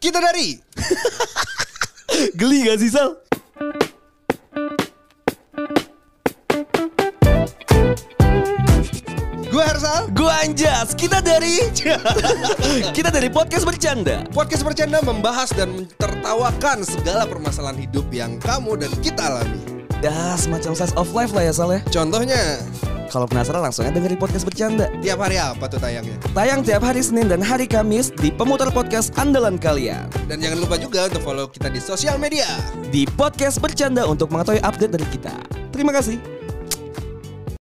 Kita dari Geli gak sih Sal? Gue Hersal Gue Anjas, kita dari Kita dari Podcast Bercanda Podcast Bercanda membahas dan mentertawakan segala permasalahan hidup yang kamu dan kita alami Ya semacam size of life lah ya Sal ya Contohnya Kalau penasaran langsung aja dengerin Podcast Bercanda Tiap hari apa tuh tayangnya Tayang tiap hari Senin dan hari Kamis di pemutar podcast andalan kalian Dan jangan lupa juga untuk follow kita di sosial media Di Podcast Bercanda untuk mengetahui update dari kita Terima kasih